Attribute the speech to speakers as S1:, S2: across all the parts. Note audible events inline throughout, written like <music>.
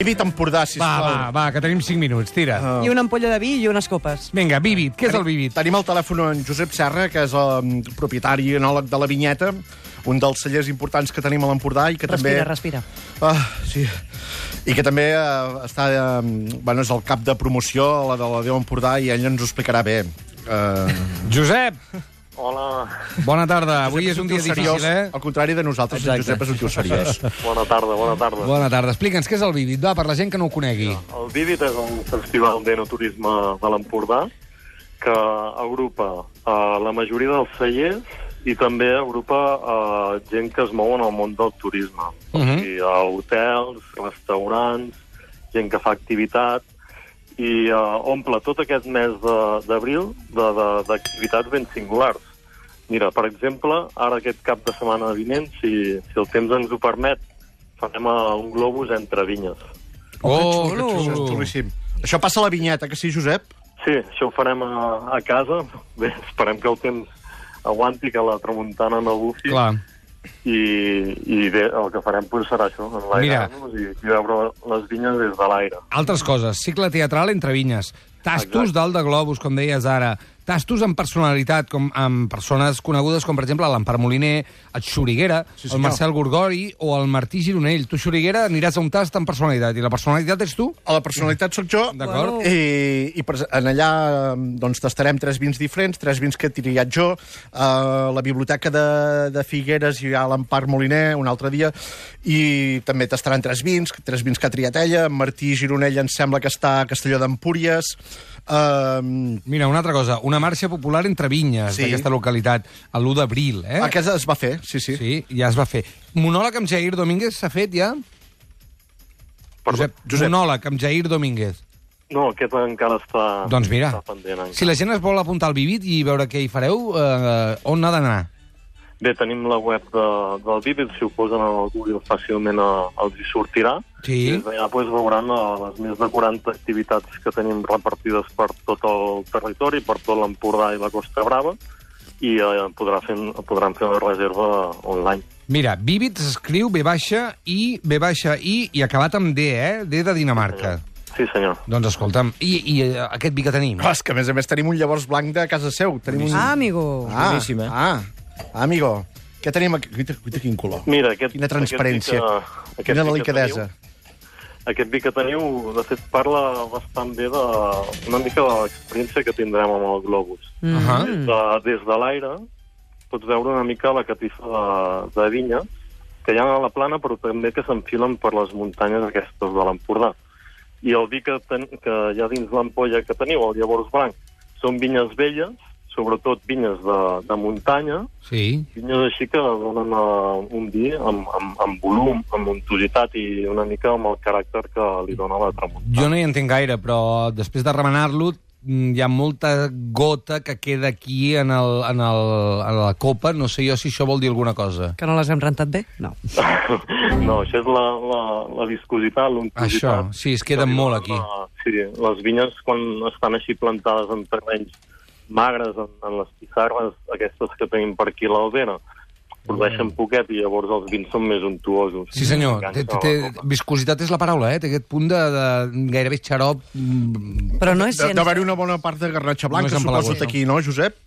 S1: Evita Empordà,
S2: Va,
S1: sisplau.
S2: va, va, que tenim 5 minuts, tira. Uh.
S3: I una ampolla de vi i unes copes.
S2: Vinga, Bibit, què és el Bibit?
S1: Tenim al telèfon en Josep Serra, que és el mm, propietari i enòleg de la vinyeta, un dels cellers importants que tenim a l'Empordà i que també...
S3: Respira, respira.
S1: Ah, sí. I que també eh, està... Eh, bueno, és el cap de promoció a la de la Déu Empordà i ell ens ho explicarà bé. Eh,
S2: Josep,
S4: Hola,
S2: bona tarda. Avui és un
S1: tio
S2: dia
S1: seriós,
S2: difícil, eh?
S1: Al contrari de nosaltres, en
S2: Exacte.
S1: Josep és un tio seriós.
S4: bona tarda, bona tarda.
S2: Bona tarda. Explica'ns què és el Bibit, va, per la gent que no ho conegui.
S4: El Didit és un festival d'enoturisme de l'Empordà que agrupa eh, la majoria dels cellers i també agrupa eh, gent que es mou en el món del turisme. Uh
S2: Mhm.
S4: -huh. I a hotels, restaurants, gent que fa activitat i eh, omple tot aquest mes de- d'abril de- de- d'activitats ben singulars. Mira, per exemple, ara aquest cap de setmana vinent, si, si el temps ens ho permet, farem eh, un globus entre vinyes.
S2: Oh,
S3: xulo.
S1: Això és xulíssim. Això passa a la vinyeta, que sí, Josep?
S4: Sí, això ho farem a, a casa. Bé, esperem que el temps aguanti, que la tramuntana no bufi.
S2: Clar.
S4: I, I bé, el que farem pues, serà això, enlairar-nos i, i veure les vinyes des de l'aire.
S2: Altres coses, cicle teatral entre vinyes, tastos
S4: Exacte.
S2: dalt de globus, com deies ara, tastos amb personalitat, com amb persones conegudes com, per exemple, l'Empar Moliner, el Xuriguera, sí, el
S1: senyor.
S2: Marcel Gorgori o el Martí Gironell. Tu, Xuriguera, aniràs a un tast amb personalitat i la personalitat ets tu?
S1: A la personalitat sóc jo.
S2: D'acord.
S3: Wow.
S1: I, i per, en allà eh, doncs, tastarem tres vins diferents, tres vins que he triat jo. A la biblioteca de, de Figueres hi ha l'Empar Moliner un altre dia. I també tastaran tres vins, tres vins que ha triat ella. En Martí Gironell em sembla que està a Castelló d'Empúries. Um,
S2: Mira, una altra cosa, una marxa popular entre vinyes
S1: Sí.
S2: sí. d'aquesta localitat, a l'1 d'abril, eh?
S1: eh? Aquesta es va fer, sí, sí.
S2: Sí, ja es va fer. Monòleg amb Jair Domínguez s'ha fet ja? Josep,
S1: Josep.
S2: Monòleg amb Jair Domínguez.
S4: No, aquest encara està,
S2: doncs mira,
S4: Ah, està pendent. Encara.
S2: si la gent es vol apuntar al Vivit i veure què hi fareu, eh, on ha d'anar?
S4: Bé, tenim la web de, del Vivid, si ho posen a Google fàcilment eh, els hi sortirà. I
S2: Sí.
S4: des d'allà pues, veuran eh, les més de 40 activitats que tenim repartides per tot el territori, per tot l'Empordà i la Costa Brava, i eh, podrà fer, podran fer una reserva online.
S2: Mira, Vivit s'escriu B baixa I, B baixa I i acabat amb D, eh? D de Dinamarca.
S4: Sí, senyor.
S2: Doncs escolta'm, i, i eh, aquest vi que tenim?
S1: Oh, és que, a més a més, tenim un llavors blanc de casa seu. Tenim un...
S3: Ah, amigo.
S1: ah, boníssim, eh? Ah, amigo. Què tenim aquí? Guaita, guaita, quin color.
S4: Mira, aquest,
S1: Quina transparència.
S4: Aquest vi que,
S1: Quina
S4: vi que
S1: delicadesa.
S4: teniu- Aquest vi que teniu, de fet, parla bastant bé de, una mica de l'experiència que tindrem amb el Globus.
S2: Uh -huh.
S4: Des de, des de l'aire pots veure una mica la catifa de, de vinya que hi ha a la plana, però també que s'enfilen per les muntanyes aquestes de l'Empordà. I el vi que, ten, que hi ha dins l'ampolla que teniu, el llavors blanc, són vinyes velles, sobretot vinyes de, de muntanya,
S2: Sí.
S4: vinyes així que donen eh, un vi amb, amb, amb volum, amb ontositat i una mica amb el caràcter que li dona la tramuntana. <laughs>
S2: Jo no hi entenc gaire, però després de remenar-lo mm, hi ha molta gota que queda aquí en, el, en, el, en la copa. No sé jo si això vol dir alguna cosa.
S3: Que no les hem rentat bé? No.
S4: No, això és la, la, la viscositat, l'ontositat.
S2: Això, sí, es queda molt aquí.
S4: La, eh, sí, les vinyes quan estan així plantades en terrenys magres, en, en les pissarres, aquestes que tenim per aquí a l'Albera, produeixen poquet i llavors els vins són més untuosos.
S2: Mm. Sí, senyor. Té, té,
S4: Enganxa
S2: té,
S4: la boca.
S2: viscositat és la paraula, eh? Té aquest punt de, de gairebé xarop... mm,
S3: Però no és
S1: De-
S3: gens...
S1: Deu haver una bona part de garnatxa blanca,
S2: Només en
S1: suposo,
S2: Palagós.
S1: d'aquí, no, Josep?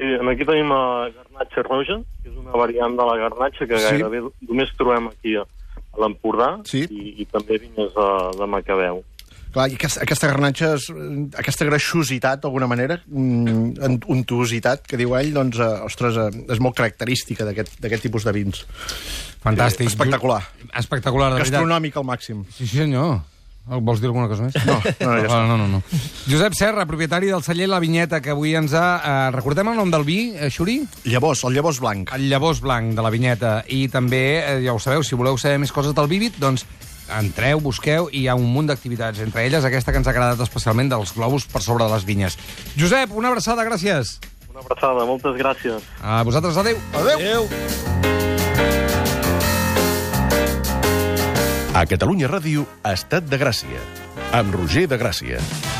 S4: Sí, en aquí tenim la garnatxa roja, que és una variant de la garnatxa que
S1: Sí.
S4: sí. gairebé només trobem aquí a a l'Empordà
S1: Sí.
S4: i, i també vinyes de, de Macabeu.
S1: Clar, i aquesta, aquesta garnatxa, és, eh, aquesta greixositat, d'alguna manera, mm, en- untuositat, que diu ell, doncs, eh, ostres, eh, és molt característica d'aquest d'aquest tipus de vins.
S2: Fantàstic.
S1: Espectacular.
S2: Espectacular, de veritat.
S1: Gastronòmic al màxim.
S2: Sí, sí, senyor. El- Vols dir alguna cosa més?
S1: No, no, ja està.
S2: no, no, no. Josep Serra, propietari del celler La Vinyeta, que avui ens ha... Eh, recordem el nom del vi, eh, Xuri?
S1: Llavors, el llavors blanc.
S2: el llavors blanc de la vinyeta i també, eh, ja ho sabeu, si voleu saber més coses del Vivid, doncs entreu, busqueu i hi ha un munt d'activitats, entre elles aquesta que ens ha agradat especialment dels globus per sobre de les vinyes. Josep, una abraçada, gràcies.
S4: Una abraçada, moltes gràcies.
S2: A vosaltres, adeu.
S5: A Catalunya Ràdio, Estat de Gràcia, amb Roger de Gràcia.